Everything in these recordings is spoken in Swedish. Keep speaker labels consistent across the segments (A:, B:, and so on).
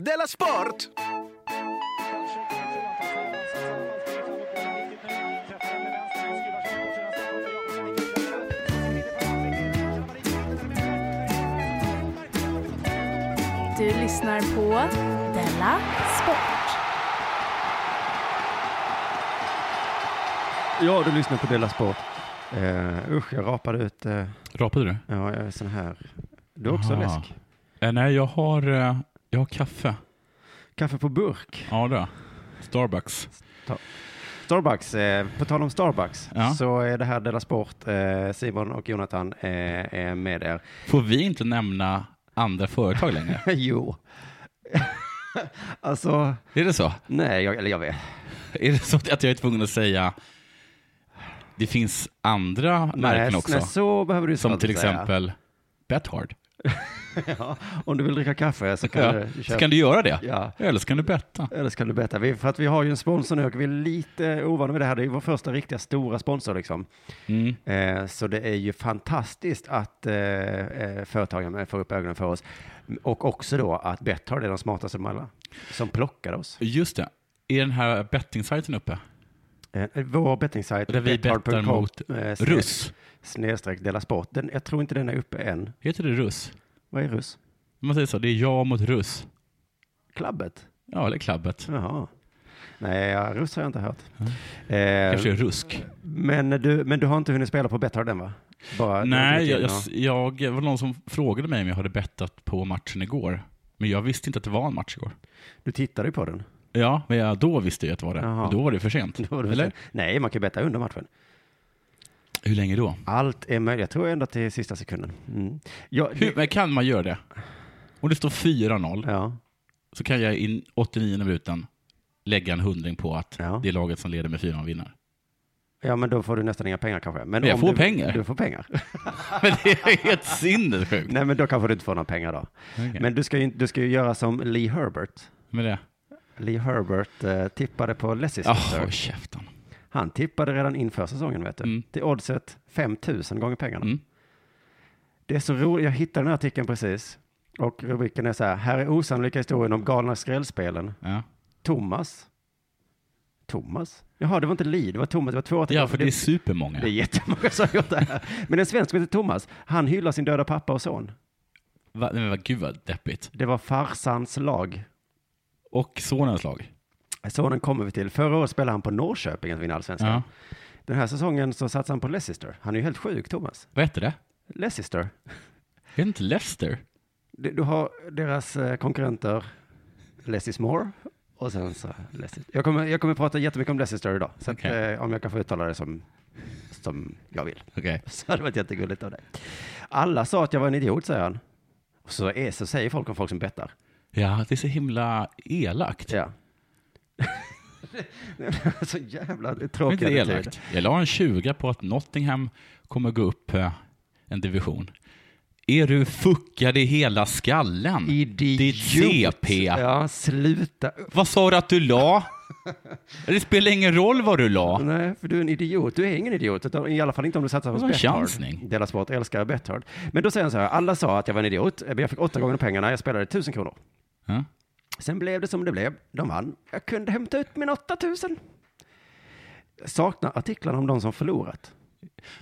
A: Della Sport!
B: Du lyssnar på Della Sport.
C: Ja, du lyssnar på Della Sport. Uh, usch, jag rapade ut eh,
D: Rapade du?
C: ja, jag är sån här. Du har också
D: Aha.
C: läsk.
D: Eh, nej, jag har, eh, jag har kaffe.
C: Kaffe på burk.
D: Ja, det har jag. Starbucks.
C: Starbucks. eh, på tal om Starbucks
D: Ja.
C: så är det här Della Sport. eh, Simon och Jonathan eh, är med er.
D: Får vi inte nämna andra företag längre?
C: jo. alltså,
D: Är det så?
C: nej, jag, eller jag vet.
D: Är det så att jag är tvungen att säga det finns andra märken
C: nej,
D: också?
C: nej, så behöver du inte
D: som
C: alltid
D: till
C: säga.
D: exempel Bethard.
C: ja, om du vill dricka kaffe så kan
D: Ja,
C: du köpa.
D: så kan du göra det.
C: Ja.
D: Eller så kan du betta.
C: Eller ska du betta? Vi, för att vi har ju en sponsor nu och vi är lite ovana vid det här. Det är ju vår första riktiga stora sponsor liksom.
D: Mm.
C: Eh, så det är ju fantastiskt att eh, eh, företagen får upp ögonen för oss. Och också då att Betthard är de smartaste av dem alla. Som plockade oss.
D: Just det. Är den här bettingsajten uppe?
C: Eh, vår bettingsajt.
D: Där vi bettar
C: betthard.com,
D: mot
C: eh, sne-
D: Russ.
C: Snedstreck Della Sport. Den, jag tror inte den är uppe än.
D: Heter det Russ?
C: Vad är Russ?
D: Om Man säger så, det är jag mot Russ.
C: Klabbet?
D: Ja, eller klabbet.
C: Jaha. Nej, ja, Russ har jag inte hört. Eh,
D: Kanske är rusk.
C: Men du, men du har inte hunnit spela på Betthard än va? Bara,
D: Nej, jag,
C: ja.
D: jag, jag det var någon som frågade mig om jag hade bettat på matchen igår. Men jag visste inte att det var en match igår.
C: Du tittade ju på den.
D: Ja, men jag, då visste jag att det var det.
C: Jaha.
D: Men Då var det för sent.
C: Då var det väl
D: eller?
C: så- Nej, man kan ju betta under matchen.
D: Hur länge då?
C: Allt är möjligt. Jag tror ända till sista sekunden. Mm. Ja,
D: Hur,
C: det,
D: men kan man göra det? Om det står 4-0
C: ja,
D: så kan jag i 89 minuten lägga en hundring på att
C: Ja.
D: det är laget som leder med 4-0 vinner.
C: ja, men då får du nästan inga pengar kanske.
D: Men jag
C: om
D: får
C: du,
D: pengar.
C: Du får pengar.
D: Men det är helt sinnessjukt.
C: Nej, men då kanske du inte får några pengar då. Men du ska, ju, inte- du ska ju göra som Lee Herbert.
D: Med det?
C: Lee Herbert eh, tippade på Leicester.
D: Åh, håll käften.
C: Han tippade redan inför säsongen, vet du.
D: Mm.
C: Till oddset 5 000 gånger pengarna.
D: Mm.
C: Det är så roligt. Jag hittade den här artikeln precis. Och rubriken är så här. Här är osannolika historien om galna skrällspelen.
D: Ja.
C: Thomas. Thomas? Jaha, det var inte Lee, det var Thomas. Det var två
D: ja, för det är supermånga.
C: det är jättemånga som har gjort det här. Men en svensk som heter Thomas, han hyllar sin döda pappa och son.
D: Va, nej, men vad, gud vad deppigt.
C: Det var farsans lag.
D: Och sonens lag.
C: Sonen kommer vi till. Förra året spelade han på Norrköping att vinna allsvenskan.
D: Ja.
C: Den här säsongen så satsade han på Leicester. Han är ju helt sjuk, Thomas.
D: Vad heter det?
C: Leicester.
D: Är det inte Leicester?
C: Du du har deras eh, konkurrenter Lessie Moore och sen så Lessie. Jag kommer, jag kommer prata jättemycket om Leicester idag, så
D: Okej.
C: att, eh, om jag kan få uttala det som, som jag vill.
D: Okej.
C: Så hade det varit jättegulligt av dig. Alla sa att jag var en idiot, säger han. Och så, är, så säger folk om folk som bettar.
D: Ja, det är så himla elakt.
C: Ja. så jävla
D: Men
C: tråkig
D: inte
C: attityd.
D: elakt. Jag la en 20 på att Nottingham kommer gå upp eh, en division. Är du fuckad i hela skallen?
C: Idiot.
D: Ditt CP.
C: Ja, sluta.
D: Vad sa du att du la? Det spelar ingen roll vad du la.
C: Nej, för du är en idiot. Du är ingen idiot, utan i alla fall inte om du satsar på
D: Det var en
C: Betthard.
D: chansning.
C: Dela Sport älskar Betthard. Men då säger han så här, alla sa att jag var en idiot, men jag fick åtta gånger pengarna, jag spelade tusen kronor.
D: Ja.
C: Sen blev det som det blev. De vann. Jag kunde hämta ut min 8000. Saknar artiklarna om de som förlorat.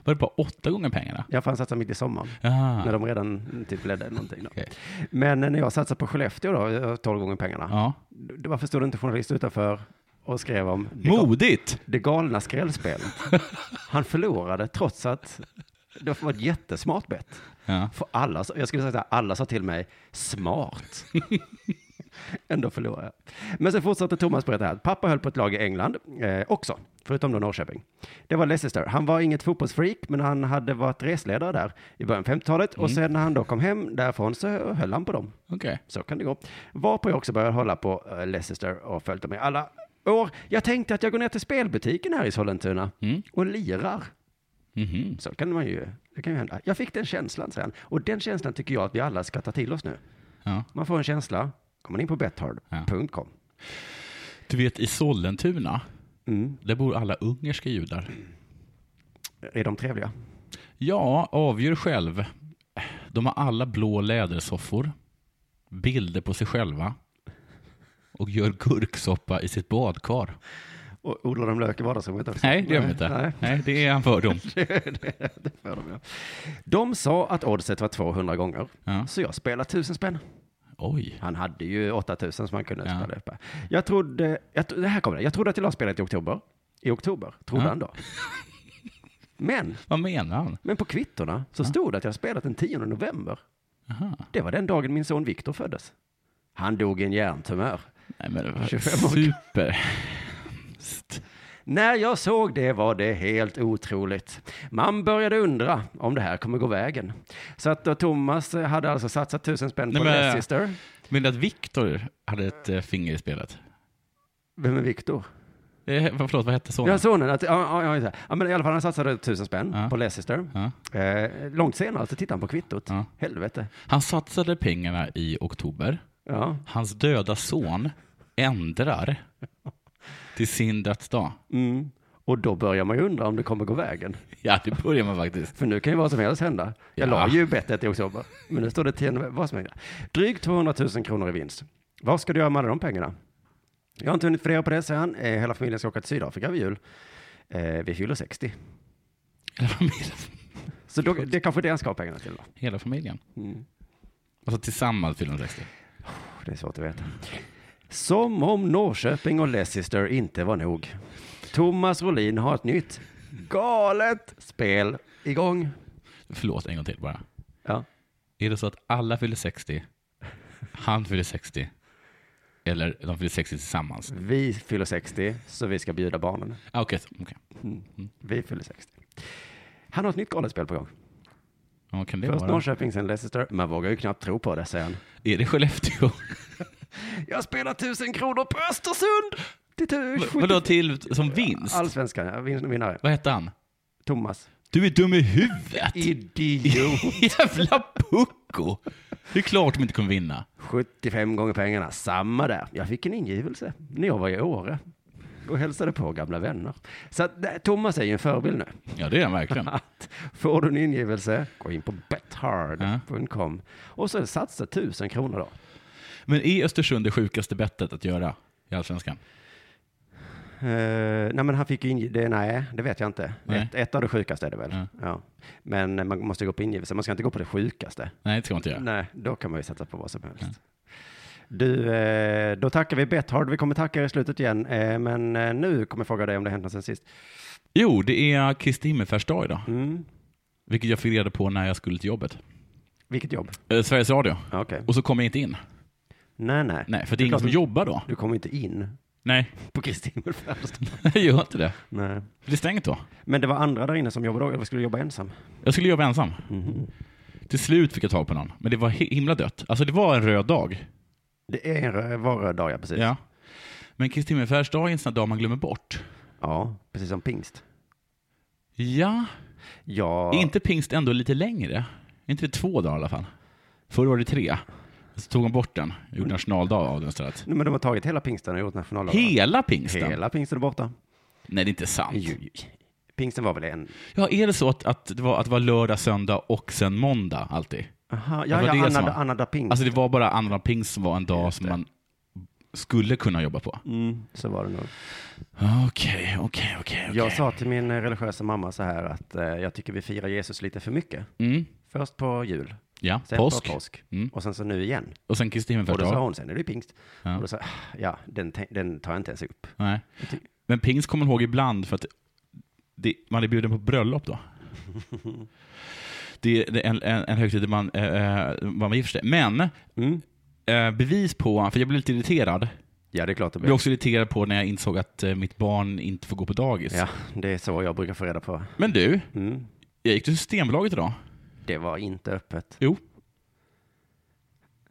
D: Var det bara åtta gånger pengarna?
C: Jag fanns satsa mitt i sommaren. När
D: Ah,
C: de redan typ ledde någonting. Då.
D: Okej.
C: Men när jag satsade på Skellefteå då, jag har 12 gånger pengarna.
D: ja.
C: D- Varför stod det inte journalist utanför och skrev om det, ga-
D: Modigt!
C: det galna skrällspelet? Han förlorade trots att det var ett jättesmart bett.
D: Ja.
C: För alla, sa- jag skulle säga att alla sa till mig, smart. Ändå förlorade jag. Men sen fortsatte Thomas berätta här. Pappa höll på ett lag i England eh, också, förutom då Norrköping. Det var Leicester. Han var inget fotbollsfreak, men han hade varit resledare där i början av 50-talet. Och sen när han då kom hem därifrån så höll han på dem.
D: Okej.
C: Så kan det gå. Varpå jag också började hålla på eh, Leicester och följt dem i alla år. Jag tänkte att jag går ner till spelbutiken här i Sollentuna
D: Mm.
C: och lirar.
D: Mhm.
C: Så kan man ju, det kan ju hända. Jag fick den känslan sen. Och den känslan tycker jag att vi alla ska ta till oss nu.
D: Ja.
C: Man får en känsla, går man in på bethard.com.
D: Du vet, i Sollentuna,
C: Mm.
D: där bor alla ungerska judar.
C: Är de trevliga?
D: Ja, avgör själv. De har alla blå lädersoffor, bilder på sig själva, och gör gurksoppa i sitt badkar.
C: Och odlar de lök i vardagsrummet också?
D: Nej, det gör de inte.
C: Nej,
D: Nej. det är en fördom.
C: det får de, ja. de sa att oddset var 200 gånger,
D: Ja.
C: så jag spelade 1000 spänn.
D: Oj.
C: Han hade ju 8000 som han kunde
D: Ja.
C: spela upp. här. Jag trodde, jag, tro- det här kommer det, jag trodde att jag la spelet i oktober. I oktober, trodde
D: Ja.
C: han då. Men,
D: Vad menar han?
C: men på kvittorna så stod det att jag spelat den 10 november.
D: Aha.
C: Det var den dagen min son Viktor föddes. Han dog i en hjärntumör.
D: Nej, men det var
C: 25 år.
D: super.
C: När jag såg det var det helt otroligt. Man började undra om det här kommer gå vägen. Så att då Thomas hade alltså satsat tusen spänn på
D: Nej, men-
C: Leicester.
D: Men att Viktor hade ett eh, finger i spelet?
C: Vem är Viktor?
D: Eh, vad- förlåt, vad hette sonen?
C: Ja, sonen. Att, ja, ja, ja, just det. ja, men i alla fall han satsade tusen spänn
D: Ja.
C: på Leicester.
D: Ja.
C: Eh, långt senare så tittade han på kvittot.
D: Ja.
C: Helvete.
D: Han satsade pengarna i oktober.
C: Ja.
D: Hans döda son ändrar till sin dödsdag.
C: Mm. Och då börjar man ju undra om det kommer gå vägen.
D: Ja, det börjar man faktiskt.
C: För nu kan ju vad som helst hända. Jag
D: Ja.
C: la ju bettet i oktober. Men nu står det 10 november. Vad som helst. Drygt 200 000 kronor i vinst. Vad ska du göra med alla de pengarna? Jag har inte hunnit fundera på det, säger han. Eh, hela familjen ska åka till Sydafrika vid jul. Eh, vi fyller 60.
D: Hela familjen.
C: Så då, det är kanske det han ska ha pengarna till. Då.
D: Hela familjen.
C: Mm.
D: Alltså tillsammans fyller de 60.
C: Det är svårt att veta. Som om Norrköping och Leicester inte var nog. Thomas Rolin har ett nytt galet spel igång.
D: Förlåt, en gång till bara.
C: Ja.
D: Är det så att alla fyller 60, han fyller 60, eller de fyller 60 tillsammans?
C: Vi fyller 60, så vi ska bjuda barnen.
D: Ah, Okej, så- okej.
C: Vi fyller 60. Han har ett nytt galet spel på gång.
D: Ja, vad kan det
C: Först
D: vara?
C: Norrköping, sen Leicester. Man vågar ju knappt tro på det, säger han.
D: Är det Skellefteå?
C: Jag spelar tusen kronor på Östersund! Till tu-
D: Vadå till som vinst?
C: Allsvenskan, ja, vin- vinnare.
D: Vad hette han?
C: Thomas.
D: Du är dum i huvudet!
C: Idiot!
D: Jävla pucko! Det är klart de inte kommer vinna.
C: 75 gånger pengarna, samma där. Jag fick en ingivelse när jag var i Åre och hälsade på gamla vänner. Så att, det- Thomas är ju en förebild nu.
D: Ja, det är han verkligen.
C: Att får du en ingivelse, gå in på bethard.com och så satsa 1000 kronor då.
D: Men är Östersund det sjukaste bettet att göra i Allsvenskan?
C: Eh, nej, men han fick ju inge- det, nej, det vet jag inte.
D: Nej.
C: Ett, ett av det sjukaste är det väl.
D: Ja.
C: Ja. Men man måste gå på ingivelse, man ska inte gå på det sjukaste.
D: Nej, det ska man inte göra.
C: Nej, då kan man ju sätta på vad som helst. Du, eh, då tackar vi Bethard. Vi kommer tacka er i slutet igen, eh, men eh, nu kommer jag fråga dig om det hänt något sen sist.
D: Jo, det är Kristi himmelsfärdsdag idag.
C: Mm.
D: Vilket jag fick reda på när jag skulle till jobbet.
C: Vilket jobb?
D: Eh, Sveriges Radio.
C: Ja, Okej.
D: Och så kom jag inte in.
C: Nej, nej.
D: Nej, för det är ingen
C: klart
D: som
C: du-
D: jobbar då.
C: Du kommer inte in
D: Nej,
C: på Kristi himmelfärdsdag.
D: jag gör inte det.
C: Nej.
D: För det är stängt då.
C: Men det var andra där inne som jobbade då, eller skulle jobba ensam.
D: Jag skulle jobba ensam. Mm-hmm.
C: Mhm.
D: Till slut fick jag tag på någon. Men det var hi- himla dött. Alltså, det var en röd dag.
C: Det är en rö- var röd dag, ja, precis.
D: Ja. Men Kristi himmelsfärdsdag är en sån här dag man glömmer bort.
C: Ja, precis som pingst.
D: Ja,
C: Ja,
D: Är inte pingst ändå lite längre? Är inte det två dagar i alla fall? Förr var det tre. Så tog de bort den, gjorde nationaldag av den istället.
C: Nej, men de har tagit hela pingsten och gjort nationaldag.
D: Hela pingsten?
C: Hela pingsten är borta.
D: Nej, det är inte sant.
C: Jo, jo. Pingsten var väl en...
D: Ja, är det så att, att, det var, att det var lördag, söndag och sen måndag alltid?
C: Aha,
D: Det
C: ja,
D: var
C: ja,
D: det som
C: annandag
D: var-
C: annandag pingst.
D: Alltså det var bara annandag pingst som var en dag som man skulle kunna jobba på?
C: Mm, så var det nog.
D: Okej, okej, okej.
C: Jag
D: okej.
C: sa till min eh, religiösa mamma så här att eh, jag tycker vi firar Jesus lite för mycket.
D: Mm,
C: Först på jul,
D: ja,
C: sen
D: påsk.
C: på påsk
D: Mm.
C: och sen så nu igen.
D: Och sen Kristi
C: Och då sa
D: himmelsfärdsdag.
C: hon, sen är det ju pingst.
D: Ja.
C: Och då sa jag, "Ah, ja, den, te- den tar jag inte ens upp.
D: Nej. Men pingst kommer man ihåg ibland för att det, man är bjuden på bröllop då. Det är det är en, en, en högtid där man, eh, eh, man gifter sig. Men
C: Mm.
D: eh, bevis på, för jag blev lite irriterad.
C: Ja, det är klart det
D: Jag blev
C: blir.
D: också irriterad på när jag insåg att eh, mitt barn inte får gå på dagis.
C: Ja, det är så jag brukar få reda på.
D: Men du,
C: Mm.
D: jag gick till Systembolaget idag.
C: Det var inte öppet.
D: Jo.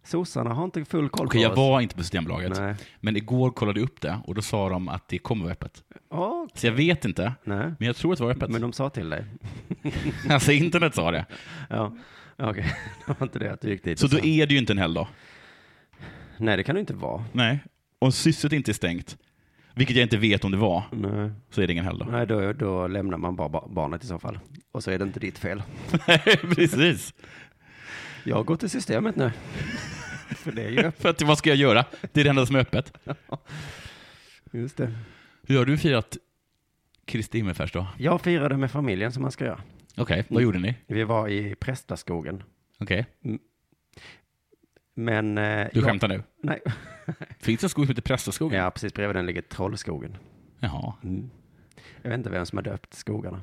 C: Sossarna har inte full koll
D: Okej,
C: på
D: jag
C: oss.
D: var inte på Systembolaget.
C: Nej.
D: Men igår kollade jag upp det och då sa de att det kommer vara öppet.
C: Åh,
D: Så jag vet inte,
C: nej.
D: men jag tror att det var öppet.
C: Men de sa till dig.
D: Alltså internet sa det.
C: Ja, okej. Det var inte det att du gick dit.
D: Så
C: och
D: då
C: sa.
D: är det ju inte en helgdag.
C: Nej, det kan du inte vara.
D: Nej. Om sysset inte är stängt, vilket jag inte vet om det var,
C: Nej.
D: så är det ingen helgdag.
C: Nej, då, då lämnar man bara ba- barnet i så fall. Och så är det inte ditt fel.
D: Nej, precis.
C: Jag går till systemet nu. För det är ju...
D: För att vad ska jag göra? Det är det enda som är öppet.
C: Just det.
D: Hur har du firat Kristi himmelsfärd då?
C: Jag firade med familjen som man ska göra.
D: Okej,
C: Mm.
D: vad gjorde ni?
C: Vi var i Prästaskogen.
D: Okej,
C: Men... eh,
D: du
C: jag-
D: skämtar nu.
C: Nej.
D: Finns det en skog som heter Prästaskogen?
C: Ja, precis bredvid den ligger Trollskogen. Mm.
D: Jaha.
C: Jag vet inte vem som har döpt skogarna.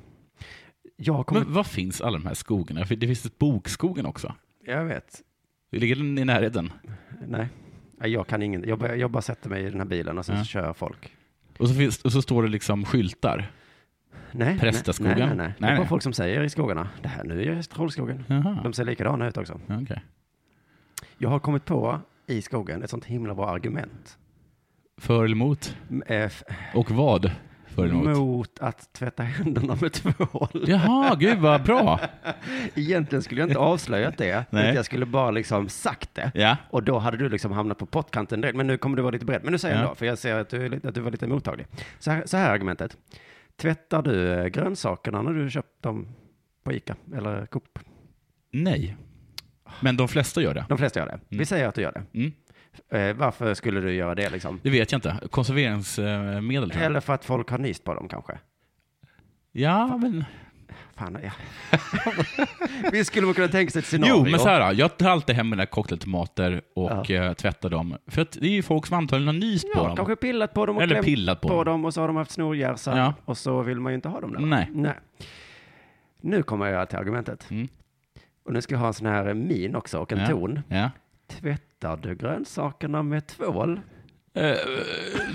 C: Jag kommer...
D: Men vad finns alla de här skogarna? För det finns ett bokskogen också.
C: Jag vet.
D: Ligger den i närheten?
C: Nej. Nej, Jag kan ingen... Jag, bara- jag bara sätter mig i den här bilen och sen
D: Ja.
C: så kör jag folk.
D: Och så, finns, och så står det liksom skyltar.
C: Nej.
D: Prästaskogen?
C: Nej, nej, nej. Det
D: Nej,
C: är bara
D: nej.
C: folk som säger i skogarna. Det här, nu är det Trollskogen.
D: Jaha,
C: De ser likadana ut också.
D: okej.
C: Jag har kommit på i skogen ett sånt himla bra argument.
D: För eller emot?
C: M- eh, f-
D: Och vad? För eller emot?
C: Mot att tvätta händerna med tvål.
D: Jaha, gud vad bra.
C: Egentligen skulle jag inte avslöjat det.
D: Nej.
C: utan Jag skulle bara liksom sagt det.
D: Ja,
C: Och då hade du liksom hamnat på pottkanten direkt. Men nu kommer du vara lite beredd. Men nu säger jag
D: Ja.
C: då, för jag ser att du, är lite- att du var lite mottaglig. Så här, så här är argumentet. Tvättar du eh, grönsakerna när du köpt dem på Ica eller Coop?
D: nej. Men de flesta gör det.
C: De flesta gör det. Vi säger att du gör det.
D: Mm.
C: Eh, varför skulle du göra det liksom?
D: Det vet jag inte. Konserveringsmedel tror jag.
C: Eller för att folk har nyst på dem kanske?
D: Ja, men...
C: Fan, ja. Vi skulle väl kunna tänka sig ett scenario.
D: Jo, men så här, då, jag tar alltid hem mina cocktailtomater och eh, tvättar dem. För att det är ju folk som antagligen har nyst på
C: Ja,
D: dem.
C: kanske pillat på dem och
D: Eller
C: klämt
D: pillat på
C: på
D: dem.
C: dem och så har de haft snorgärsar
D: Ja.
C: och så vill man ju inte ha dem där.
D: Nej.
C: Nu kommer jag till argumentet.
D: Mm.
C: Och nu ska jag ha en sån här min också och en
D: Ja.
C: ton.
D: Ja.
C: Tvättar du grönsakerna med tvål?
D: Eh,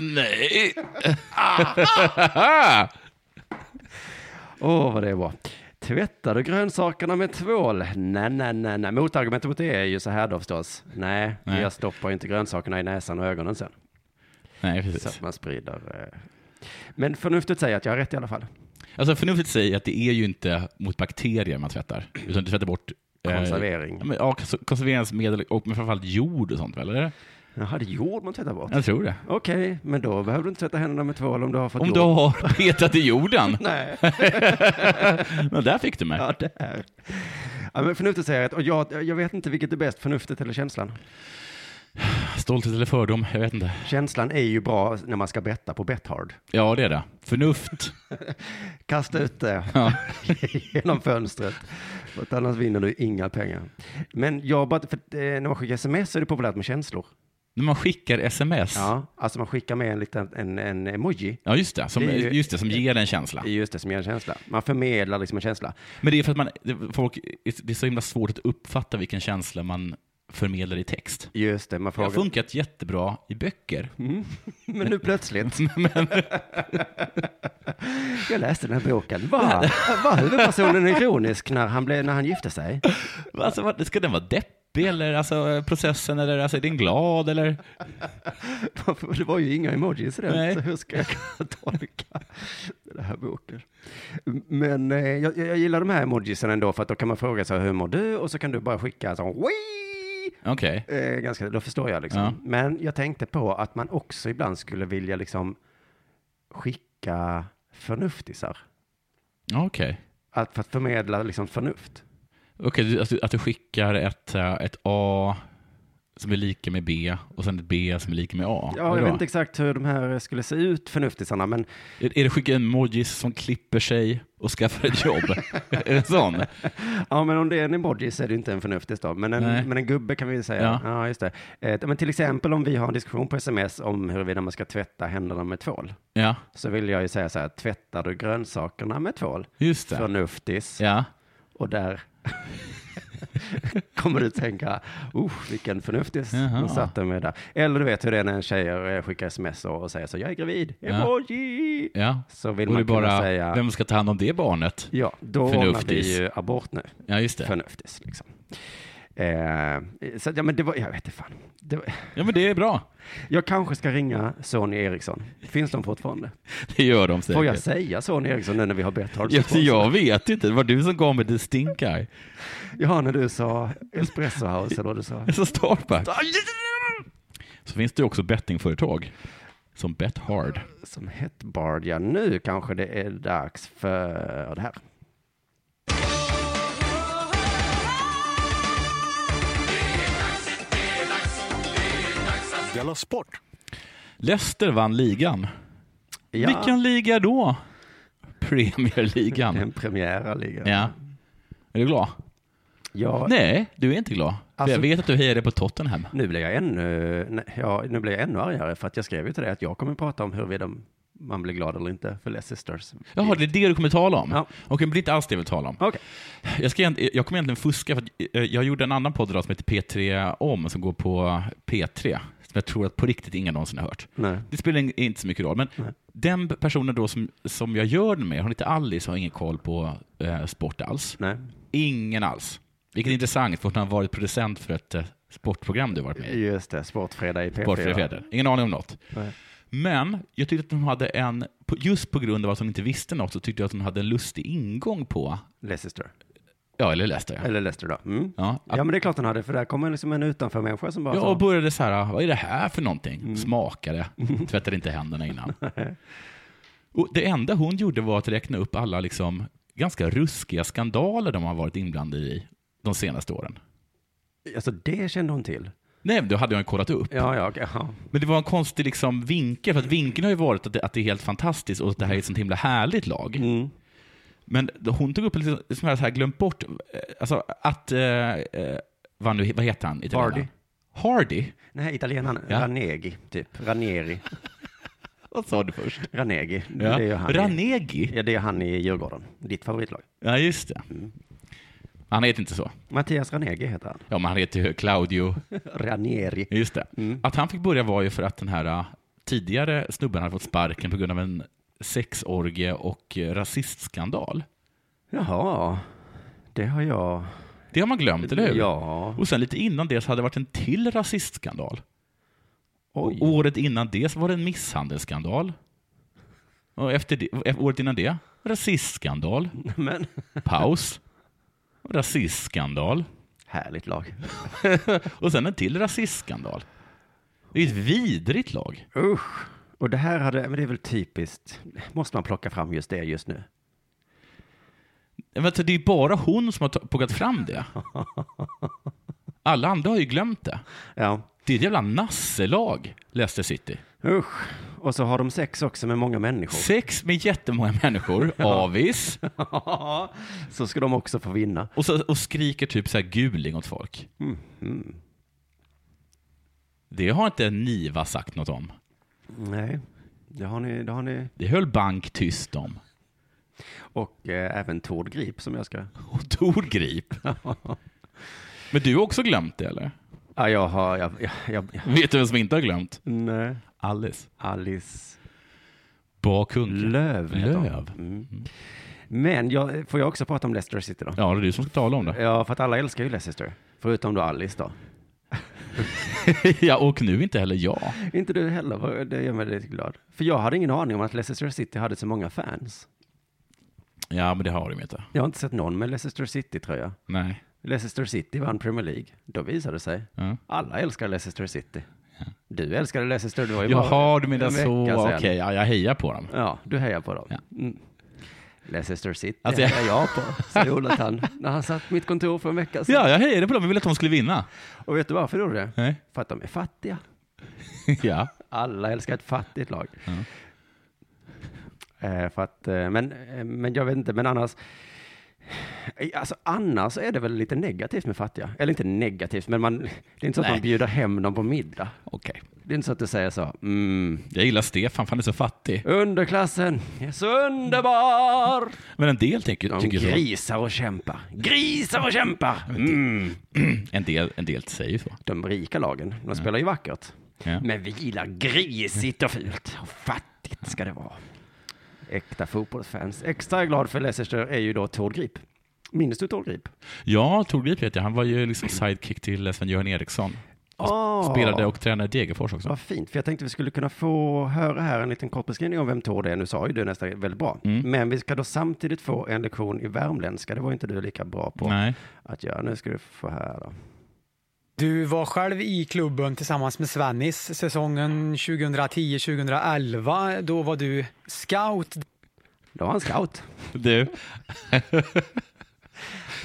D: nej.
C: Åh, vad det är bra. Tvättar du grönsakerna med tvål? Nej, nej, nej, nej. Motargumentet mot det är ju så här då förstås. Nej,
D: Nej.
C: jag stoppar ju inte grönsakerna i näsan och ögonen sen.
D: nej,
C: Så att
D: precis.
C: man sprider. eh. Men förnuftet säger att jag har rätt i alla fall.
D: Alltså förnuftigt säger att det är ju inte mot bakterier man tvättar, utan du tvättar bort eh,
C: Konservering.
D: ja, men, ja, kons- konserveringsmedel och men framförallt jord och sånt väl? Eller?
C: Jaha, det är jord man tvättar bort.
D: Jag tror det.
C: Okej, men då behöver du inte tvätta händerna med tvål om du har fått
D: Om
C: jord.
D: du har petat i jorden.
C: Nej,
D: Men där fick du mig.
C: ja, det är. Ja, men förnuftet säger att, och jag, jag vet inte vilket är bäst, förnuftet eller känslan.
D: Stolthet eller fördom, jag vet inte.
C: Känslan är ju bra när man ska betta på Bethard.
D: Ja, det är det. Förnuft.
C: Kasta ut det
D: Ja.
C: genom fönstret, för att annars vinner du inga pengar. Men jag bara, för eh, när man skickar sms så är det populärt med känslor.
D: När man skickar sms. Ja,
C: Ja, alltså man skickar med en liten en, en emoji.
D: just, det, som,
C: Det är ju-
D: just det. Som ger en känsla.
C: Det är just det som ger en känsla. Man förmedlar liksom en känsla.
D: Men det är för att man, det- folk, det är så himla svårt att uppfatta vilken känsla man förmedlar i text.
C: Just det, man
D: Det har
C: frågar.
D: funkat jättebra i böcker.
C: Men nu plötsligt. Jag läste den här boken. Var, var huvudpersonen ironisk när han, blev, när han gifte sig?
D: Alltså, vad- ska den vara deppig eller alltså, processen eller alltså, är den glad eller?
C: Det var ju inga emojis i den,
D: Nej.
C: så hur ska jag kunna tolka den här boken? Men eh, jag, jag gillar de här emojisen ändå, för att då kan man fråga sig hur mår du? Och så kan du bara skicka så Wii!
D: Okej.
C: Eh, ganska, då förstår jag liksom.
D: Ja.
C: Men jag tänkte på att man också ibland skulle vilja liksom skicka förnuftisar.
D: Okej.
C: Att, för att förmedla liksom förnuft.
D: Okej, du- att, du- att du skickar ett, eh, ett A som är lika med B och sen ett B som är lika med A.
C: Ja,
D: Vadå?
C: jag vet inte exakt hur de här skulle se ut, förnuftisarna, men
D: Är, är det skicka emojis som klipper sig och skaffar ett jobb? är det sån?
C: Ja, men om det är en emoji så är det ju inte en förnuftis då. Men en,
D: Nej.
C: men en gubbe kan vi ju säga. Ja.
D: Ja.
C: just det. Eh, men till exempel om vi har en diskussion på sms om huruvida man ska tvätta händerna med tvål.
D: Ja,
C: Så vill jag ju säga så här, tvättar du grönsakerna med tvål?
D: just det.
C: Förnuftis.
D: Ja.
C: Och där kommer du tänka, usch vilken förnuftis
D: Jaha.
C: hon satte mig där. Eller du vet hur det är när en tjej eh, skickar sms och och säger så, jag är gravid, emoji.
D: ja.
C: Så vill
D: och det
C: man
D: är
C: kunna
D: bara,
C: säga,
D: vem ska ta hand om det barnet?
C: ja, då ordnar vi
D: Förnuftis.
C: ju abort nu.
D: Ja, just det.
C: förnuftigt. Liksom. Eh, så att, ja, men det var, jag vet inte fan. Det var,
D: Ja, men det är bra.
C: jag kanske ska ringa Sony Eriksson. Finns de fortfarande?
D: Det gör de säkert.
C: Får jag säga Sony Eriksson nu när vi har bett honom?
D: Ja, så jag vet inte. Det var du som gav mig the stink eye.
C: Ja, när du sa Espresso House eller vad du sa.
D: Så Starbucks. Så finns det också bettingföretag som Bet Hard.
C: Som hett Bard, ja nu kanske det är dags för det här.
A: Della Sport!
D: Leicester vann ligan.
C: Ja,
D: Vilken liga då?
C: det är en
D: Premierligan.
C: premiär liga.
D: ja. Är du glad?
C: Ja,
D: Nej, du är inte glad. För
C: Alltså-
D: jag vet att du hejade på Tottenham.
C: nu blir jag ännu, nej, ja, nu blir jag ännu argare för att jag skrev ju till dig att jag kommer prata om huruvida man blir glad eller inte för Leicesters.
D: Jaha, det är det du kommer tala om?
C: Ja.
D: Okej, men det är inte alls det jag vill tala om.
C: Okej.
D: Jag, ska, egent- jag kommer egentligen fuska, för att eh, jag gjorde en annan podd idag som heter P3 om, som går på P3, som jag tror att på riktigt ingen någonsin har hört.
C: Nej.
D: Det spelar in- inte så mycket roll, men den personen då som, som jag gör den med, hon heter Alice och har ingen koll på eh, sport alls.
C: Nej.
D: Ingen alls. Vilket är intressant, för hon har varit producent för ett eh, sportprogram du har varit med i.
C: Just det, Sportfredag i P4.
D: Sportfria fäder. Ingen aning om något.
C: Nej.
D: Men jag tyckte att hon hade en, på- just på grund av att hon inte visste något, så tyckte jag att hon hade en lustig ingång på,
C: Leicester.
D: ja eller läste jag.
C: Eller Leicester då. Mm.
D: Ja, att,
C: Ja, men det är klart han hade, för där kommer liksom en utanför människa som bara
D: ja,
C: så,
D: och började så här, "Ah, vad är det här för någonting?
C: Mm.
D: Smakade, tvättade inte händerna innan. och det enda hon gjorde var att räkna upp alla liksom, ganska ruskiga skandaler de har varit inblandade i de senaste åren.
C: alltså det kände hon till.
D: Nej, men då hade jag ju kollat upp.
C: Ja, ja, okej, ja.
D: Men det var en konstig liksom vinkel, för att vinkeln har ju varit att det, att det är helt fantastiskt och att det här är ett sånt himla härligt lag.
C: Mm.
D: Men hon tog upp lite som jag så här glömt bort, eh, alltså att, eh, eh, vad, nu, vad heter han? italienaren?
C: Hardy.
D: Hardy?
C: Nej, italienaren
D: Ja.
C: Ranegi, typ. Ranieri.
D: Vad sa du först?
C: Ranegi.
D: Ja.
C: Det är ju han. i-
D: Ranegi?
C: Ja, det är han i Djurgården. Ditt favoritlag.
D: Ja, just det. Mm. Han heter inte så.
C: Mattias Ranegi heter han.
D: Ja, men han heter ju Claudio.
C: Ranieri.
D: Just det. Att han fick börja var ju för att den här eh, tidigare snubben hade fått sparken på grund av en sexorgie och eh, rasistskandal.
C: Jaha, det har jag.
D: Det har man glömt, eller hur?
C: Ja.
D: Och sen lite innan det så hade det varit en till rasistskandal.
C: Oj.
D: Och året innan det så var det en misshandelsskandal. Och efter det, e- året innan det, rasistskandal.
C: Men
D: Paus. Rasistskandal.
C: härligt lag.
D: Och sen en till rasistskandal. Det är ju ett vidrigt lag.
C: Usch. Och det här hade, men det är väl typiskt. Måste man plocka fram just det just nu?
D: Men alltså, det är ju bara hon som har ta- plockat fram det. Alla andra har ju glömt det.
C: Ja.
D: Det är ett jävla nasselag, Leicester City.
C: Usch. Och så har de sex också med många människor.
D: Sex med jättemånga människor, avis.
C: så ska de också få vinna.
D: Och, så, och skriker typ så här guling åt folk. Det har inte Niva sagt något om.
C: Nej, det har ni. Det har ni.
D: Det höll Bank tyst om.
C: Och eh, även Tord Grip som jag ska.
D: Och Tor Grip. Men du har också glömt det eller?
C: Ja, jag har. Jag, jag, jag, jag.
D: Vet du vem som inte har glömt?
C: Nej.
D: Alice.
C: Alice
D: Bakunke.
C: Löv. heter hon.
D: Löv.
C: Mm. Men jag, får jag också prata om Leicester City då?
D: Ja, det är du som ska tala om det.
C: Ja, för att alla älskar ju Leicester. Förutom då Alice då.
D: ja, och nu inte heller jag.
C: Inte du heller, vad- det gör mig lite glad. För jag hade ingen aning om att Leicester City hade så många fans.
D: Ja, men det har de ju inte.
C: Jag har inte sett någon med Leicester City-tröja.
D: Nej.
C: Leicester City vann Premier League. Då visade det sig.
D: Ja.
C: Alla älskar Leicester City. Du älskade Leicester, du var ju
D: Jaha,
C: bara
D: du menar
C: en
D: så.
C: vecka
D: Okej,
C: sedan.
D: ja, jag hejar på dem.
C: Ja, du hejar på dem.
D: Ja.
C: Mm. Leicester City
D: Alltså, jag-
C: hejar jag på, sa Jonathan när han satt på mitt kontor för en vecka sedan.
D: Ja, jag hejade på dem. Jag ville att de skulle vinna.
C: Och vet du varför du gjorde det?
D: Nej.
C: För att de är fattiga.
D: ja.
C: Alla älskar ett fattigt lag.
D: Ja.
C: Eh, för att, eh, men, eh, men jag vet inte, men annars. Eh, Alltså annars är det väl lite negativt med fattiga. Eller inte negativt, men man, det är inte så att
D: Nej.
C: man bjuder hem dem på middag.
D: Okej.
C: Det är inte så att du säger så. Mm.
D: Jag gillar Stefan, för han är så fattig.
C: Underklassen är så underbar.
D: Men en del tänker,
C: De
D: tycker så.
C: grisar och kämpar. Grisar och kämpar. Mm.
D: En del, en del säger så.
C: De rika lagen, de spelar ju vackert.
D: Ja.
C: Men vi gillar grisigt och fult. Och fattigt ska det vara. Äkta fotbollsfans. Extra glad för Leicester är ju då Tord Grip. Minns du Tord Grip?
D: Ja, Torgrip vet jag. Han var ju liksom sidekick till Sven-Göran Eriksson.
C: Ah,
D: Spelade och tränade i Degerfors också.
C: Vad fint, för jag tänkte vi skulle kunna få höra här en liten kort beskrivning om vem Tord är. Nu sa ju du nästan väldigt bra. Men vi ska då samtidigt få en lektion i värmländska. Det var ju inte du lika bra på
D: Nej.
C: att göra. Nu ska du få här då.
E: Du var själv i klubben tillsammans med Svennis säsongen 2010-2011. Då var du scout.
C: Då var han scout.
D: Du,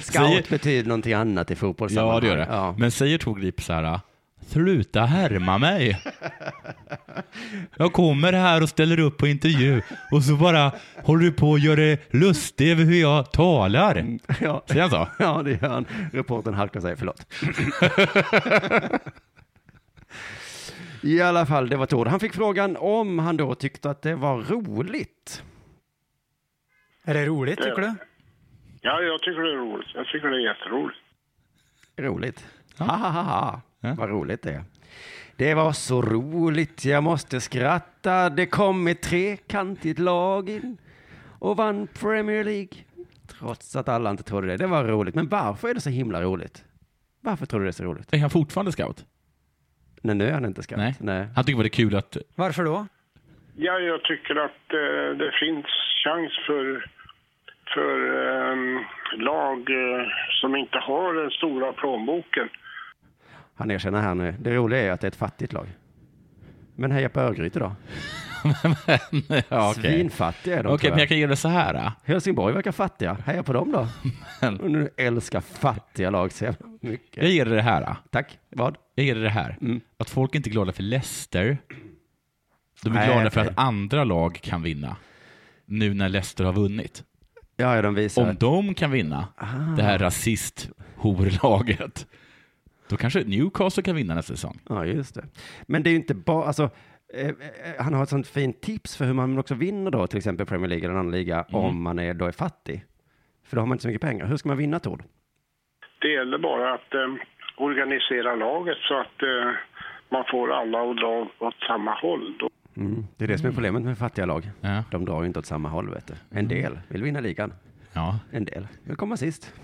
C: Scout
D: Säger-
C: betyder någonting annat i fotbollssammanhang.
D: ja det gör det.
C: Ja.
D: Men säger Torgrip så här, Sluta härma mig. Jag kommer här och ställer upp på intervju och så bara håller du på att göra dig lustig över hur jag talar.
C: Ja,
D: Säger han så?
C: ja det gör han. Reportern halkar sig, förlåt. I alla fall, det var Tord. Han fick frågan om han då tyckte att det var roligt.
E: Är det roligt tycker du?
A: Ja, jag tycker det är roligt. Jag tycker det är jätteroligt.
C: Roligt. Ha, ha, ha, ha.
D: Ja.
C: Vad roligt det är. Det var så roligt, jag måste skratta. Det kom ett trekantigt lag in och vann Premier League. Trots att alla inte trodde det. Det var roligt. Men varför är det så himla roligt? Varför tror du det är så roligt?
D: Är han fortfarande scout?
C: Nej, nu är han inte skratt. Nej.
D: Han tycker bara det är kul att...
E: Varför då?
A: Ja, jag tycker att eh, det finns chans för, för ehm, lag eh, som inte har den stora plånboken.
C: Han erkänner här nu. Det roliga är att det är ett fattigt lag. Men heja på Örgryte då.
D: ja, okej.
C: Svinfattiga är de
D: Okej,
C: tror
D: men
C: jag.
D: jag kan ge det så här. Då.
C: Helsingborg verkar fattiga. Heja på dem då. Och nu älskar fattiga lag så jävla mycket.
D: Jag ger det det här. Då.
C: Tack. Vad?
D: Jag ger det det här. Att folk inte är glada för Leicester. De är
C: Nej,
D: glada för
C: okej.
D: att andra lag kan vinna. Nu när Leicester har vunnit.
C: Ja, ja, de visar.
D: Om de kan vinna det här rasist-horlaget, då kanske Newcastle kan vinna nästa säsong.
C: Ja, just det. Men det är ju inte bara, alltså, eh, eh, han har ett sånt fint tips för hur man också vinner då, till exempel Premier League eller en annan liga,
D: Mm.
C: om man är, då är fattig. För då har man inte så mycket pengar. Hur ska man vinna, Tord?
A: Det gäller bara att eh, organisera laget så att eh, man får alla att dra åt samma håll. Då
C: Det är det som är problemet med fattiga lag.
D: Mm. Ja. Mm.
C: De drar ju inte åt samma håll, vet du. En del vill vinna ligan.
D: Ja.
C: En del vill komma sist.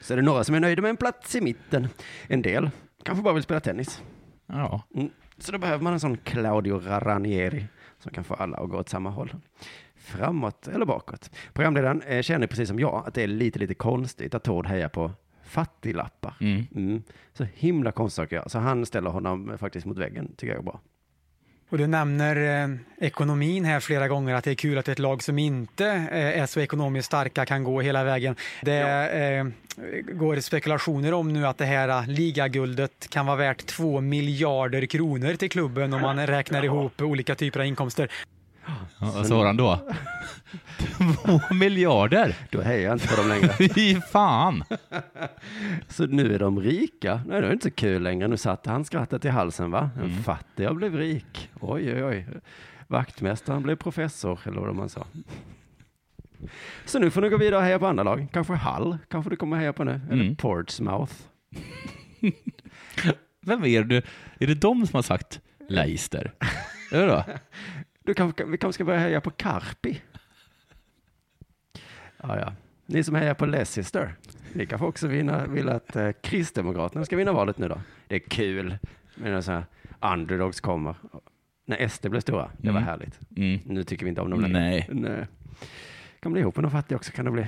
C: Så är det några som är nöjda med en plats i mitten. En del kanske bara vill spela tennis.
D: ja.
C: Mm. Så då behöver man en sån Claudio Ranieri som kan få alla att gå åt samma håll. Framåt eller bakåt. Programledaren eh, känner precis som jag att det är lite, lite konstigt att Tord hejar på fattiglappar.
D: Mm.
C: Mm. Så himla konstigt att göra. Så han ställer honom eh, faktiskt mot väggen, tycker jag är bra.
E: Och du nämner eh, ekonomin här flera gånger, att det är kul att ett lag som inte eh, är så ekonomiskt starka kan gå hela vägen. Det eh, går spekulationer om nu att det här eh, ligaguldet kan vara värt 2 miljarder kronor till klubben om man räknar ihop olika typer av inkomster.
D: Ja, Vad svarar han då? Två miljarder?
C: Då hejar jag inte på dem längre.
D: Fy fan!
C: Så nu är de rika. Nej, det är inte så kul längre. Nu satte han skrattet i halsen, va? En fattig jag blev rik. Oj, oj, oj. Vaktmästaren blev professor, eller vad man sa. Så nu får ni gå vidare och heja på andra lag. Kanske Hull, kanske du kommer heja på nu. Eller
D: Mm.
C: Portsmouth.
D: Vem är det? Är det de som har sagt Leicester? Är det då?
C: Du kanske, vi kanske ska börja heja på Carpi. Ja, ja. Ni som hejar på Leicester, ni kanske också vinna, vill att eh, Kristdemokraterna ska vinna valet nu då. Det är kul med när så här underdogs kommer. När SD blev stora, det var
D: Mm.
C: härligt.
D: Mm.
C: Nu tycker vi inte om dem längre.
D: Nej.
C: Nej. Kan bli ihop med de fattiga också, kan det bli.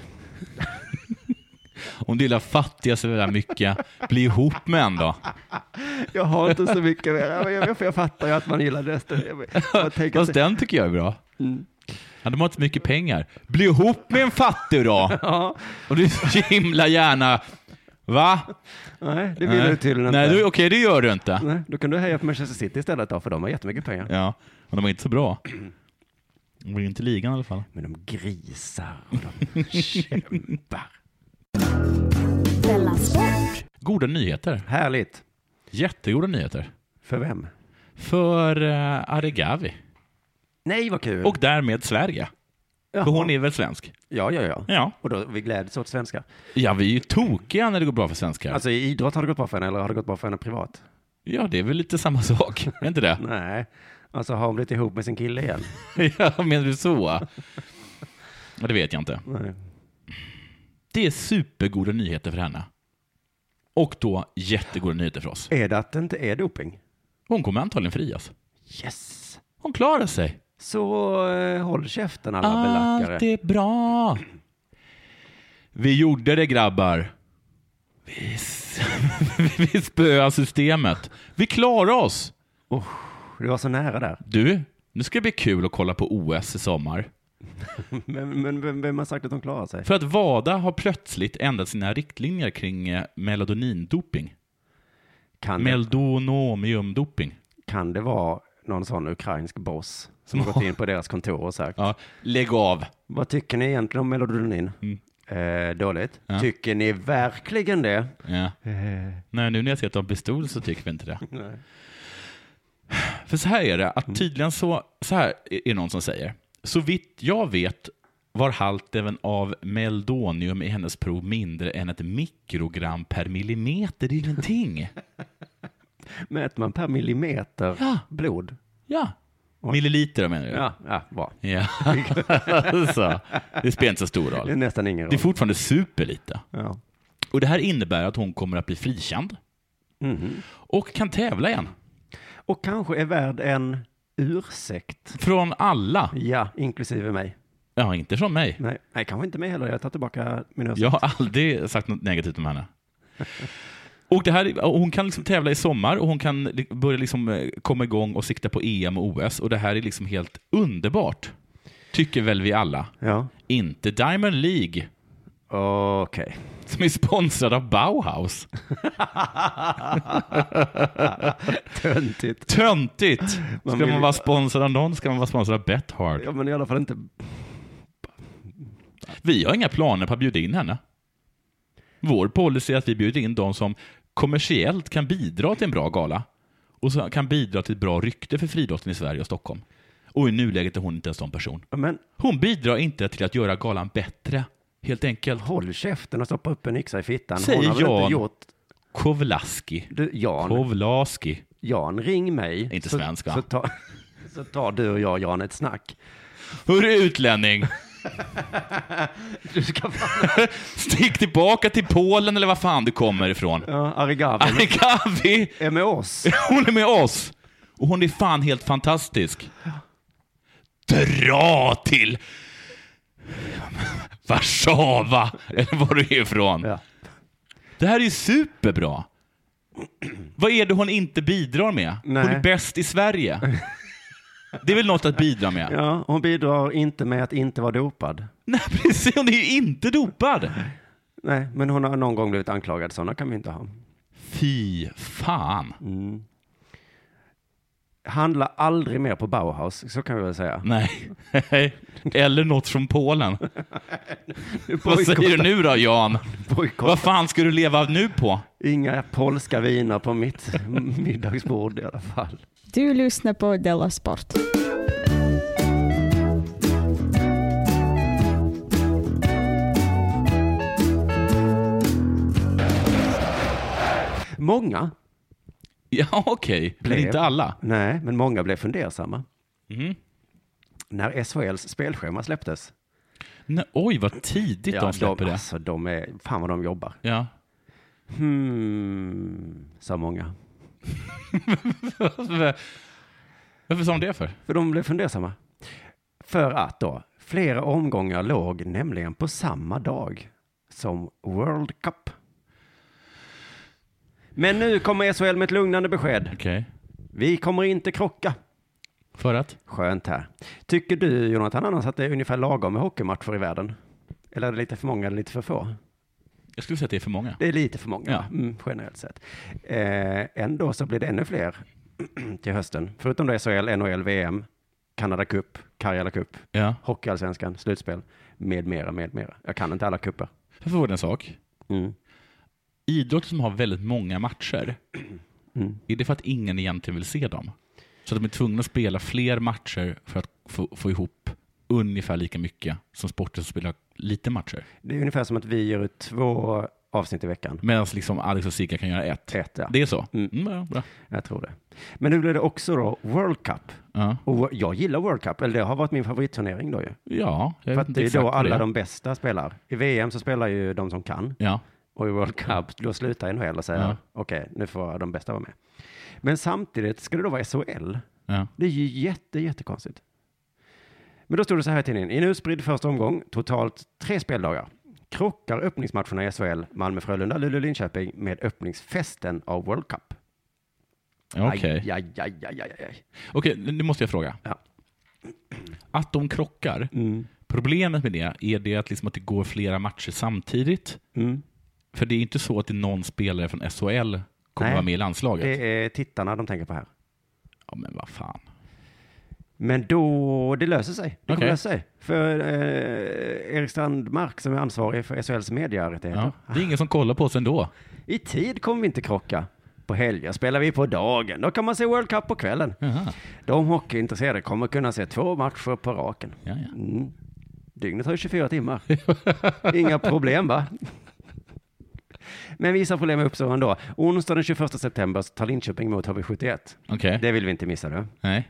D: Om du gillar fattiga så där mycket, bli ihop med en då.
C: Jag har inte så mycket mer. Jag, jag, jag fattar ju att man gillar Leicester. Jag, jag tänker
D: Fast
C: att,
D: den tycker jag är bra. Ja, de har inte så mycket pengar. Bli ihop med en fattig då!
C: ja,
D: Och du så himla gärna... Va?
C: nej, det vill du tydligen inte. Mm.
D: Nej, du, okej, det gör du inte.
C: Nej, då kan du heja på Manchester City istället då, för de har jättemycket pengar.
D: Ja, men de är inte så bra. De blir inte i ligan i alla fall.
C: Men de grisar och de kämpar.
B: Della Sport.
D: Goda nyheter.
C: Härligt.
D: Jättegoda nyheter.
C: För vem?
D: För eh, Aregawi.
C: Nej, vad kul.
D: Och därmed Sverige. För hon är väl svensk?
C: Ja, ja, ja.
D: Ja.
C: Och då, vi gläds åt svenskar.
D: Ja, vi är ju tokiga när det går bra för svenskar.
C: Alltså i idrott har det gått bra för henne, eller har det gått bra för henne privat?
D: ja, det är väl lite samma sak. Är inte det?
C: Nej. Alltså har hon blivit ihop med sin kille igen?
D: ja, menar du så? Ja, det vet jag inte.
C: Nej.
D: Det är supergoda nyheter för henne. Och då jättegoda nyheter för oss.
C: Är det att det inte är doping?
D: Hon kommer antagligen frias.
C: Yes!
D: Hon klarar sig.
C: Så eh, håll käften alla
D: Allt
C: belackare.
D: är bra. Vi gjorde det grabbar. Vi, s- vi spöade systemet. Vi klarade oss.
C: Du var så nära där.
D: Du, nu ska det bli kul att kolla på OS i sommar.
C: Men, men vem, vem har sagt att de klarar sig?
D: För att WADA har plötsligt ändrat sina riktlinjer kring eh, melatonin-doping.
C: Kan det,
D: Meldonomiumdoping.
C: kan det vara någon sån ukrainsk boss som har gått in på deras kontor och sagt,
D: Ja. Lägg av.
C: vad tycker ni egentligen om melodin? Eh, dåligt.
D: Ja.
C: Tycker ni verkligen det?
D: Ja.
C: Eh,
D: Nej, nu när jag ser att de har pistol så tycker vi inte det.
C: Nej. Mm.
D: För så här är det, att tydligen så, så här är är någon som säger. Så vitt jag vet var halten av meldonium i hennes prov mindre än ett mikrogram per millimeter. Det är ingenting.
C: Mäter man per millimeter
D: Ja.
C: blod?
D: Ja. Milliliter menar du?
C: Ja, ja, bra.
D: ja. så. Det spelar inte så stor
C: Det är
D: roll.
C: nästan ingen
D: Det är
C: roll.
D: fortfarande superlite.
C: Ja.
D: Och det här innebär att hon kommer att bli frikänd
C: Mhm.
D: och kan tävla igen.
C: Och kanske är värd en ursäkt.
D: Från alla.
C: Ja, inklusive mig.
D: Ja, inte från mig.
C: Nej, nej kanske inte mig heller. Jag tar tillbaka min ursäkt.
D: Jag har aldrig sagt något negativt om henne. Och det här, och hon kan liksom tävla i sommar och hon kan li- börja liksom eh, komma igång och sikta på EM och OS. Och det här är liksom helt underbart. Tycker väl vi alla.
C: Ja.
D: Inte Diamond League,
C: Okej.
D: som är sponsrad av Bauhaus.
C: Töntigt.
D: Töntigt! Ska
C: vill-
D: man vara sponsrad av någon ska man vara sponsrad av Bethard.
C: Ja, men i alla fall inte...
D: Vi har inga planer på att bjuda in henne. Vår policy är att vi bjuder in de som kommersiellt kan bidra till en bra gala och som kan bidra till ett bra rykte för friidrotten i Sverige och Stockholm. Och i nuläget är hon inte en sån person.
C: Men
D: Hon bidrar inte till att göra galan bättre, helt enkelt.
C: håll käften och stoppa upp en yxa i fittan.
D: Säger
C: Hon har väl
D: Jan.
C: inte gjort...
D: Kovlaski.
C: Du, Jan,
D: Kovlaski.
C: Jan, ring mig.
D: Inte
C: så-
D: svensk, va?
C: Så, ta, så tar du och jag, Jan, ett snack.
D: Hörru utlänning,
C: Du ska fan...
D: stick tillbaka till Polen eller var fan du kommer ifrån.
C: Ja, Arigaven
D: Arikavi!
C: är med oss.
D: Hon är med oss! Och hon är fan helt fantastisk. Dra till Warszawa, eller var du är ifrån.
C: Ja.
D: Det här är ju superbra. Vad är det hon inte bidrar med? Hon
C: Nej.
D: är bäst i Sverige. Det är väl något att bidra med?
C: Ja, hon bidrar inte med att inte vara dopad.
D: Nej, precis. Hon är ju inte dopad.
C: Nej, men hon har någon gång blivit anklagad. Sådana kan vi inte ha.
D: Fy fan.
C: Mm. Handla aldrig mer på Bauhaus, så kan vi väl säga.
D: Nej. Eller något från Polen. Vad
C: bojkottar-
D: säger du nu då, Jan?
C: Bojkott.
D: Vad fan ska du leva nu på?
C: Inga polska viner på mitt middagsbord i alla fall.
F: Du lyssnar på Della Sport.
C: Många,
D: Ja, okej. Men
C: Blev.
D: inte alla.
C: nej, men många blev fundersamma.
D: Mm.
C: När SHLs spelschema släpptes.
D: Nej, oj, vad tidigt de släpper
C: de,
D: det.
C: alltså, de är, fan vad de jobbar.
D: Ja.
C: Hmm, sa många.
D: Varför sa de det för?
C: För de blev fundersamma. För att då, flera omgångar låg nämligen på samma dag som World Cup. Men nu kommer SHL med ett lugnande besked.
D: Okej.
C: Vi kommer inte krocka.
D: För att?
C: Skönt här. Tycker du, Jonathan, annars att det är ungefär lagom med hockeymatcher i världen? Eller är det lite för många eller lite för få?
D: Jag skulle säga att det är för många.
C: Det är lite för många,
D: Ja.
C: mm, generellt sett. Eh, ändå så blir det ännu fler till hösten. Förutom då SHL, NHL, VM, Kanada Cup, Karjala Cup,
D: Ja.
C: Hockeyallsvenskan, slutspel, med mera, med mera. Jag kan inte alla kupper.
D: Jag får fråga en sak.
C: Mm.
D: Idrott som har väldigt många matcher,
C: Mm.
D: är det för att ingen egentligen vill se dem? Så att de är tvungna att spela fler matcher för att få, få ihop ungefär lika mycket som sporter som spelar lite matcher?
C: Det är ungefär som att vi gör ut två avsnitt i veckan.
D: Medan liksom Alex och Sika kan göra ett.
C: Ett, ja.
D: Det är så?
C: Mm.
D: Mm, ja, bra.
C: Jag tror det. Men nu blir det också då World Cup.
D: Ja.
C: Och jag gillar World Cup, eller det har varit min favoritturnering då ju.
D: ja jag
C: För
D: vet
C: att
D: inte
C: det är
D: exakt
C: då
D: vad
C: alla
D: är.
C: de bästa spelar. I VM så spelar ju de som kan.
D: Ja.
C: Och i World Cup, då slutar NHL och säger
D: Mm. Ja.
C: okej, nu får de bästa vara med. Men samtidigt ska det då vara SHL.
D: ja.
C: Det är ju jätte, jättekonstigt. Men då stod det så här i tidningen. I en utspridd första omgång, totalt tre speldagar, krockar öppningsmatcherna i SHL, Malmö-Frölunda, Luleå-Linköping med öppningsfesten av World Cup.
D: Okej.
C: Aj, aj, aj, aj, aj, aj.
D: Okej, nu måste jag fråga.
C: Ja.
D: Att de krockar, problemet med det, är det att, liksom att det går
C: Mm.
D: flera matcher samtidigt? För det är inte så att det är någon spelare från SHL kommer
C: Nej.
D: vara med i landslaget.
C: Det är tittarna de tänker på här.
D: Ja, men vad fan.
C: Men då, det löser sig. Det kommer
D: Okej.
C: lösa sig. För eh, Erik Strandmark som är ansvarig för SHLs mediarättigheter.
D: Ja. Det är ingen som kollar på oss ändå.
C: I tid kommer vi inte krocka. På helger spelar vi på dagen. Då kan man se World Cup på kvällen.
D: Jaha.
C: De hockeyintresserade kommer kunna se två matcher på raken.
D: Ja, ja.
C: Mm. Dygnet har ju 24 timmar. Inga problem va? Men vissa problem uppstår ändå. Onsdag den 21 september så tar Linköping emot HV71.
D: Okej.
C: Det vill vi inte missa nu.
D: Nej.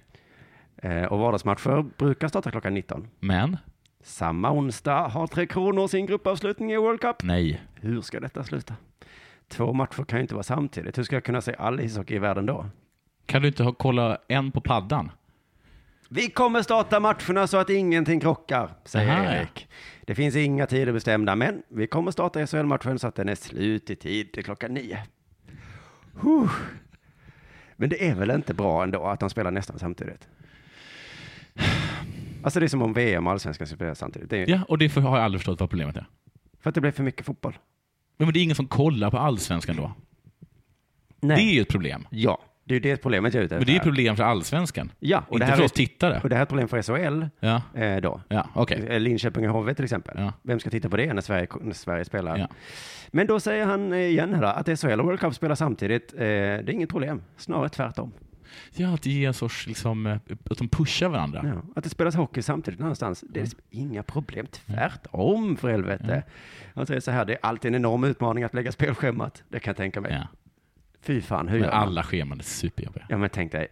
C: Eh, Och vardagsmatcher brukar starta klockan 19.
D: Men?
C: Samma onsdag har Tre Kronor sin gruppavslutning i World Cup.
D: Nej.
C: Hur ska detta sluta? Två matcher kan ju inte vara samtidigt. Hur ska jag kunna se all ishockey i världen då?
D: Kan du inte ha, kolla en på paddan?
C: Vi kommer starta matcherna så att ingenting krockar, säger
D: Aha, ja.
C: Erik. Det finns inga tider bestämda, men vi kommer starta SHL-matchen så att den är slut i tid till klockan nio. Huh. Men det är väl inte bra ändå att de spelar nästan samtidigt? Alltså det är som om VM och allsvenskan skulle spela samtidigt. Det är,
D: Ja, och det för- har jag aldrig förstått vad problemet är.
C: För att det blir för mycket fotboll.
D: Men det är ingen som kollar på allsvenskan då.
C: Nej.
D: Det är ju ett problem.
C: Ja, det är ju det problemet jag är ute
D: Men det är ju
C: här.
D: ett problem för allsvenskan.
C: Ja, och
D: inte
C: det här
D: för
C: är-
D: oss tittare.
C: Och det här är ett problem för SHL
D: Ja,
C: eh, då.
D: ja okej.
C: Eh, Linköping och HV till exempel.
D: Ja.
C: Vem ska titta på det när Sverige, när Sverige spelar?
D: Ja.
C: Men då säger han eh, igen här då, att SHL och World Cup spelar samtidigt. Eh, det är inget problem, snarare tvärtom.
D: Ja, att ge en sorts, liksom, eh, att de pushar varandra.
C: Ja. Att det spelas hockey samtidigt någonstans,
D: Mm.
C: det är liksom inga problem. Tvärtom för helvete. Han säger så här, det är alltid en enorm utmaning att lägga spelschemat. Det kan jag tänka mig.
D: Ja.
C: Fy fan, hur
D: Men
C: gör man?
D: alla scheman är superjobbiga.
C: Ja men tänk dig,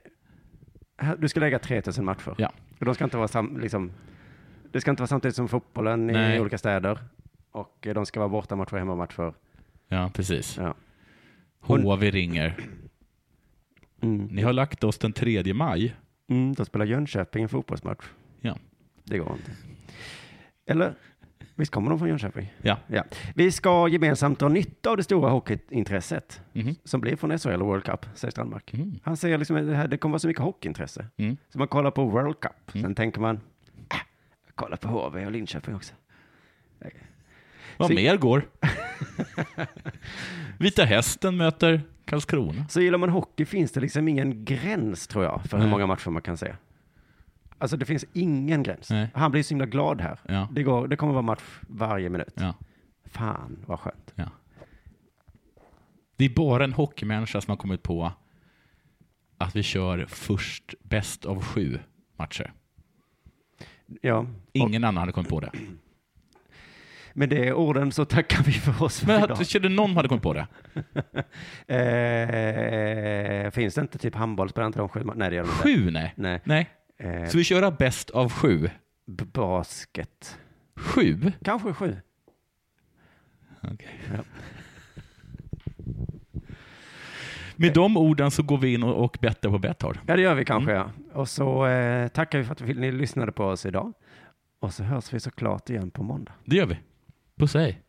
C: här, du ska lägga 3000 matcher.
D: Ja.
C: Och de ska inte vara sam, liksom, det ska inte vara samtidigt som fotbollen i
D: Nej.
C: olika städer. Och eh, de ska vara bortamatcher och hemmamatcher.
D: Ja, precis.
C: Ja.
D: HV ringer.
C: Mm.
D: Ni har lagt oss den 3 maj.
C: Mm, då spelar Jönköping en fotbollsmatch.
D: Ja.
C: Det går inte. Eller? Visst kommer de från Jönköping?
D: Ja.
C: Ja. Vi ska gemensamt dra nytta av det stora hockeyintresset
D: Mhm.
C: som blir från SHL och World Cup, säger Strandmark.
D: Mm.
C: Han säger liksom att det, här, det kommer vara så mycket hockeyintresse.
D: Mm.
C: Så man kollar på World Cup, sen tänker man, äh, kolla på HV och Linköping också.
D: Vad
C: Så-
D: mer går? Vita Hästen möter Karlskrona.
C: Så gillar man hockey finns det liksom ingen gräns tror jag för hur
D: Nej.
C: många matcher man kan se. Alltså det finns ingen gräns.
D: Nej.
C: Han blir så himla glad här.
D: Ja.
C: Det, går, det kommer vara match varje minut.
D: Ja,
C: Fan vad skönt.
D: ja. Det är bara en hockeymänniska som har kommit på att vi kör först bäst av sju matcher.
C: Ja.
D: Ingen annan hade kommit på det.
C: Och med det orden så tackar vi för oss för
D: Men
C: idag.
D: att, körde någon hade kommit på det?
C: Eh, finns det inte typ handboll? Spelar inte de sju ma- Nej, det gör de inte.
D: Sju, nej.
C: Nej.
D: nej.
C: Eh,
D: Så vi kör bäst av sju.
C: b- basket.
D: Sju?
C: Kanske sju.
D: Med de orden så går vi in och, och bettar på Betthard.
C: Ja, det gör vi kanske.
D: Mm.
C: Ja. Och så eh, tackar vi för att vi- ni lyssnade på oss idag. Och så hörs vi såklart igen på måndag.
D: Det gör vi. Puss och hej.